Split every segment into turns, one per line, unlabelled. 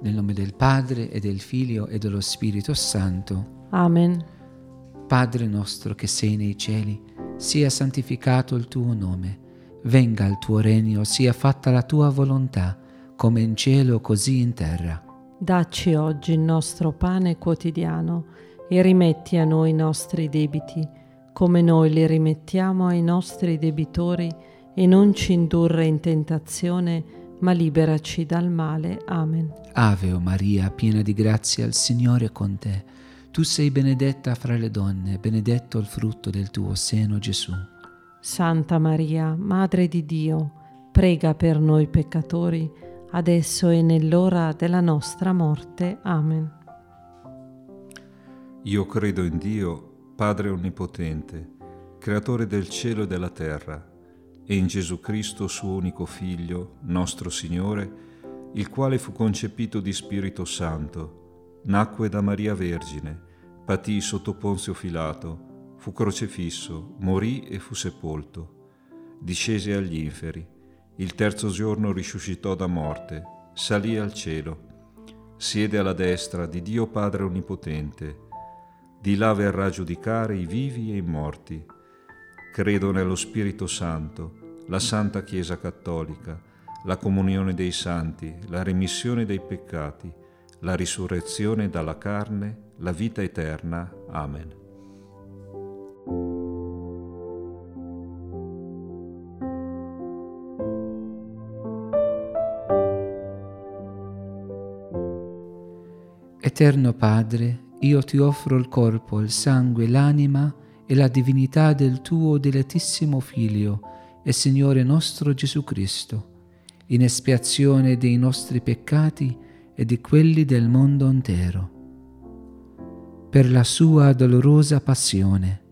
Nel nome del Padre e del Figlio e dello Spirito Santo.
Amen.
Padre nostro che sei nei cieli, sia santificato il tuo nome. Venga il tuo regno, sia fatta la tua volontà, come in cielo così in terra.
Dacci oggi il nostro pane quotidiano e rimetti a noi i nostri debiti, come noi li rimettiamo ai nostri debitori, e non ci indurre in tentazione, ma liberaci dal male. Amen.
Ave o Maria, piena di grazia, il Signore è con te. Tu sei benedetta fra le donne, benedetto il frutto del tuo seno, Gesù.
Santa Maria, Madre di Dio, prega per noi peccatori, adesso e nell'ora della nostra morte. Amen.
Io credo in Dio, Padre Onnipotente, Creatore del cielo e della terra, e in Gesù Cristo, suo unico Figlio, nostro Signore, il quale fu concepito di Spirito Santo, nacque da Maria Vergine, patì sotto Ponzio Filato, fu crocefisso, morì e fu sepolto. Discese agli inferi, il terzo giorno risuscitò da morte, salì al cielo, siede alla destra di Dio Padre Onnipotente, di là verrà a giudicare i vivi e i morti. Credo nello Spirito Santo, la Santa Chiesa Cattolica, la comunione dei santi, la remissione dei peccati, la risurrezione dalla carne, la vita eterna. Amen.
Eterno Padre, io ti offro il corpo, il sangue, l'anima e la divinità del tuo dilettissimo Figlio e Signore nostro Gesù Cristo, in espiazione dei nostri peccati e di quelli del mondo intero. Per la sua dolorosa passione,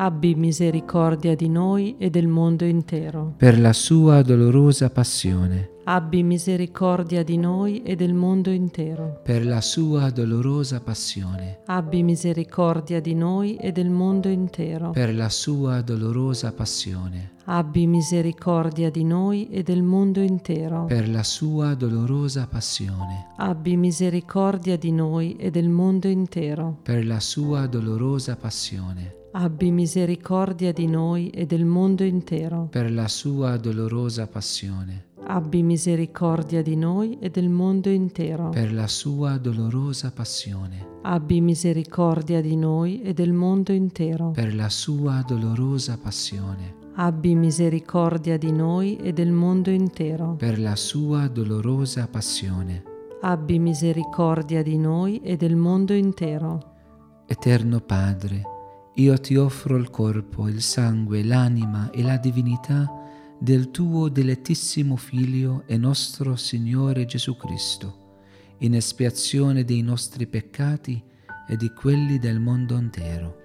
Abbi misericordia di noi e del mondo intero.
per la sua dolorosa passione,
Abbi misericordia di noi e del mondo intero.
per la sua dolorosa passione,
Abbi misericordia di noi e del mondo intero.
per la sua dolorosa passione,
Abbi misericordia di noi e del mondo intero.
per la sua dolorosa passione,
Abbi misericordia di noi e del mondo intero.
per la sua dolorosa passione.
Abbi misericordia di noi e del mondo intero.
per la sua dolorosa passione,
Abbi misericordia di noi e del mondo intero.
per la sua dolorosa passione,
Abbi misericordia di noi e del mondo intero.
per la sua dolorosa passione,
Abbi misericordia di noi e del mondo intero.
per la sua dolorosa passione.
Abbi misericordia di noi e del mondo intero.
Eterno Padre, io ti offro il corpo, il sangue, l'anima e la divinità del tuo dilettissimo Figlio e nostro Signore Gesù Cristo, in espiazione dei nostri peccati e di quelli del mondo intero.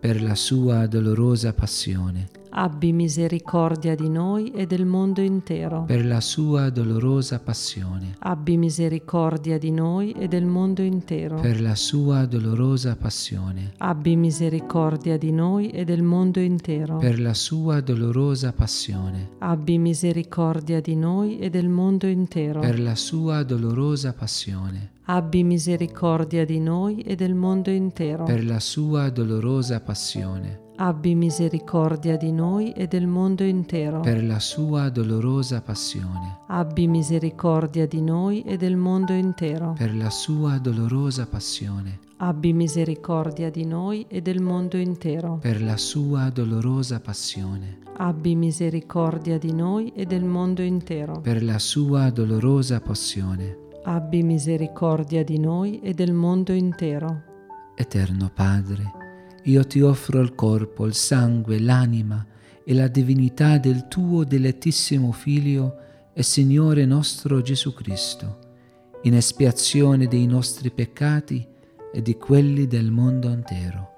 Per la sua dolorosa passione,
Abbi misericordia di noi e del mondo intero.
per la sua dolorosa passione,
Abbi misericordia di noi e del mondo intero.
per la sua dolorosa passione,
Abbi misericordia di noi e del mondo intero.
per la sua dolorosa passione,
Abbi misericordia di noi e del mondo intero.
per la sua dolorosa passione,
Abbi misericordia di noi e del mondo intero.
per la sua dolorosa passione,
Abbi misericordia di noi e del mondo intero.
per la sua dolorosa passione,
Abbi misericordia di noi e del mondo intero.
per la sua dolorosa passione,
Abbi misericordia di noi e del mondo intero.
per la sua dolorosa passione,
Abbi misericordia di noi e del mondo intero.
per la sua dolorosa passione.
Abbi misericordia di noi e del mondo intero.
Eterno Padre, io ti offro il corpo, il sangue, l'anima e la divinità del tuo dilettissimo Figlio e Signore nostro Gesù Cristo, in espiazione dei nostri peccati e di quelli del mondo intero.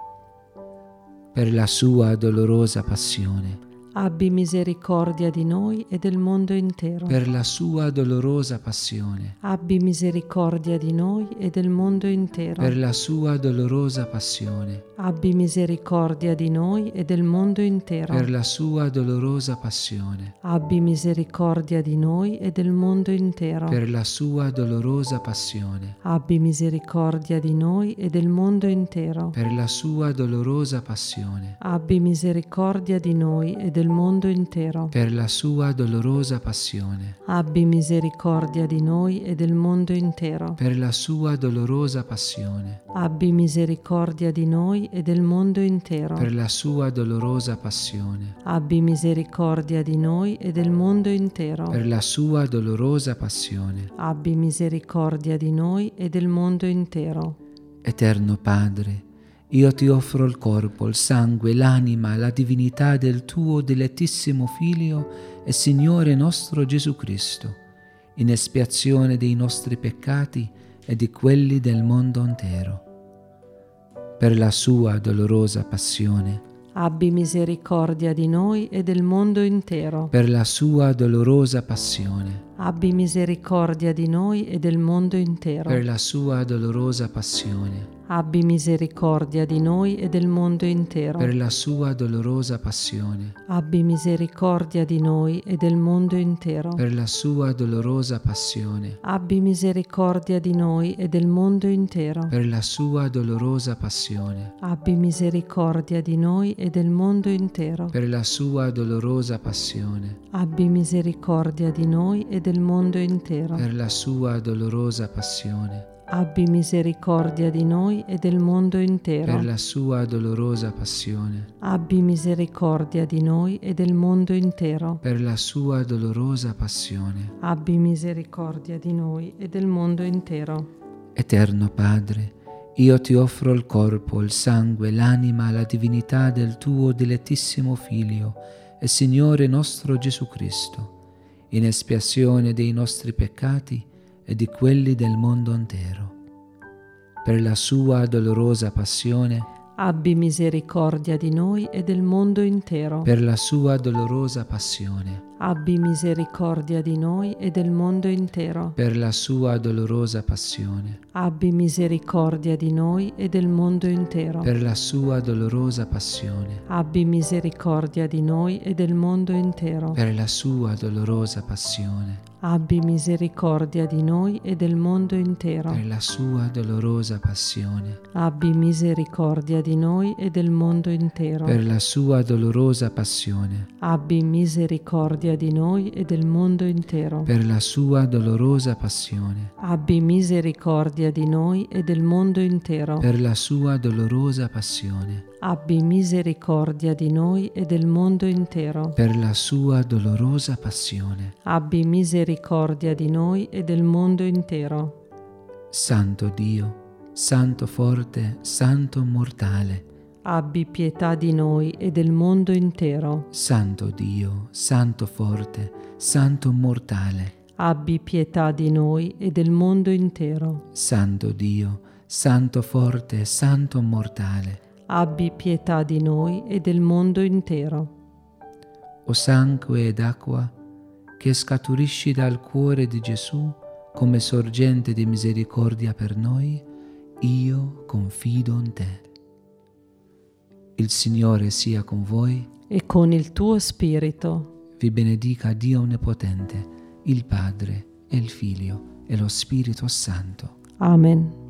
Per la sua dolorosa passione,
Abbi misericordia di noi e del mondo intero.
per la sua dolorosa passione,
Abbi misericordia di noi e del mondo intero.
per la sua dolorosa passione,
abbi misericordia di noi e del mondo intero.
per la sua dolorosa passione,
Abbi misericordia di noi e del mondo intero.
per la sua dolorosa passione,
Abbi misericordia di noi e del mondo intero.
per la sua dolorosa passione,
Abbi misericordia di noi e del mondo intero.
per la sua dolorosa passione,
Abbi misericordia di noi e del mondo intero.
per la sua dolorosa passione,
Abbi misericordia di noi e del mondo intero.
per la sua dolorosa passione,
Abbi misericordia di noi e del mondo intero.
per la sua dolorosa passione.
Abbi misericordia di noi e del mondo intero.
Eterno Padre, io ti offro il corpo, il sangue, l'anima, la divinità del tuo dilettissimo Figlio e Signore nostro Gesù Cristo, in espiazione dei nostri peccati e di quelli del mondo intero. Per la sua dolorosa passione,
Abbi misericordia di noi e del mondo intero.
per la sua dolorosa passione,
Abbi misericordia di noi e del mondo
per
intero.
la sua dolorosa passione,
Abbi misericordia di noi e del mondo intero.
per la sua dolorosa passione,
Abbi misericordia di noi e del mondo intero.
per la sua dolorosa passione.
Abbi misericordia di noi e del mondo intero.
per la sua dolorosa passione,
Abbi misericordia di noi e del mondo intero.
per la sua dolorosa passione,
Abbi misericordia di noi e del mondo intero.
per la sua dolorosa passione,
Abbi misericordia di noi e del mondo
per
intero.
la sua dolorosa passione,
Abbi misericordia di noi e del mondo intero.
per la sua dolorosa passione.
Abbi misericordia di noi e del mondo intero.
Eterno Padre, io ti offro il corpo, il sangue, l'anima, la divinità del tuo dilettissimo Figlio e Signore nostro Gesù Cristo, in espiazione dei nostri peccati e di quelli del mondo intero. Per la sua dolorosa passione,
Abbi misericordia di noi e del mondo intero.
per la sua dolorosa passione,
Abbi misericordia di noi e del mondo intero.
per la sua dolorosa passione,
Abbi misericordia di noi e del mondo intero.
per la sua dolorosa passione,
Abbi misericordia di noi e del mondo intero.
per la sua dolorosa passione.
Abbi misericordia di noi e del mondo intero.
per la sua dolorosa passione,
Abbi misericordia di noi e del mondo intero.
per la sua dolorosa passione,
Abbi misericordia di noi e del mondo intero.
per la sua dolorosa passione,
Abbi misericordia di noi e del mondo intero.
per la sua dolorosa passione,
Abbi misericordia di noi e del mondo intero.
per la sua dolorosa passione.
Abbi misericordia di noi e del mondo intero.
Santo Dio, Santo forte, Santo mortale,
Abbi pietà di noi e del mondo intero.
Santo Dio, Santo forte, Santo mortale,
Abbi pietà di noi e del mondo intero.
Santo Dio, Santo forte, Santo mortale.
Abbi pietà di noi e del mondo intero.
o sangue ed acqua, che scaturisci dal cuore di Gesù come sorgente di misericordia per noi, io confido in te. Il Signore sia con voi,
E con il tuo spirito.
vi benedica Dio Onnipotente, il Padre e il Figlio e lo Spirito Santo.
Amen.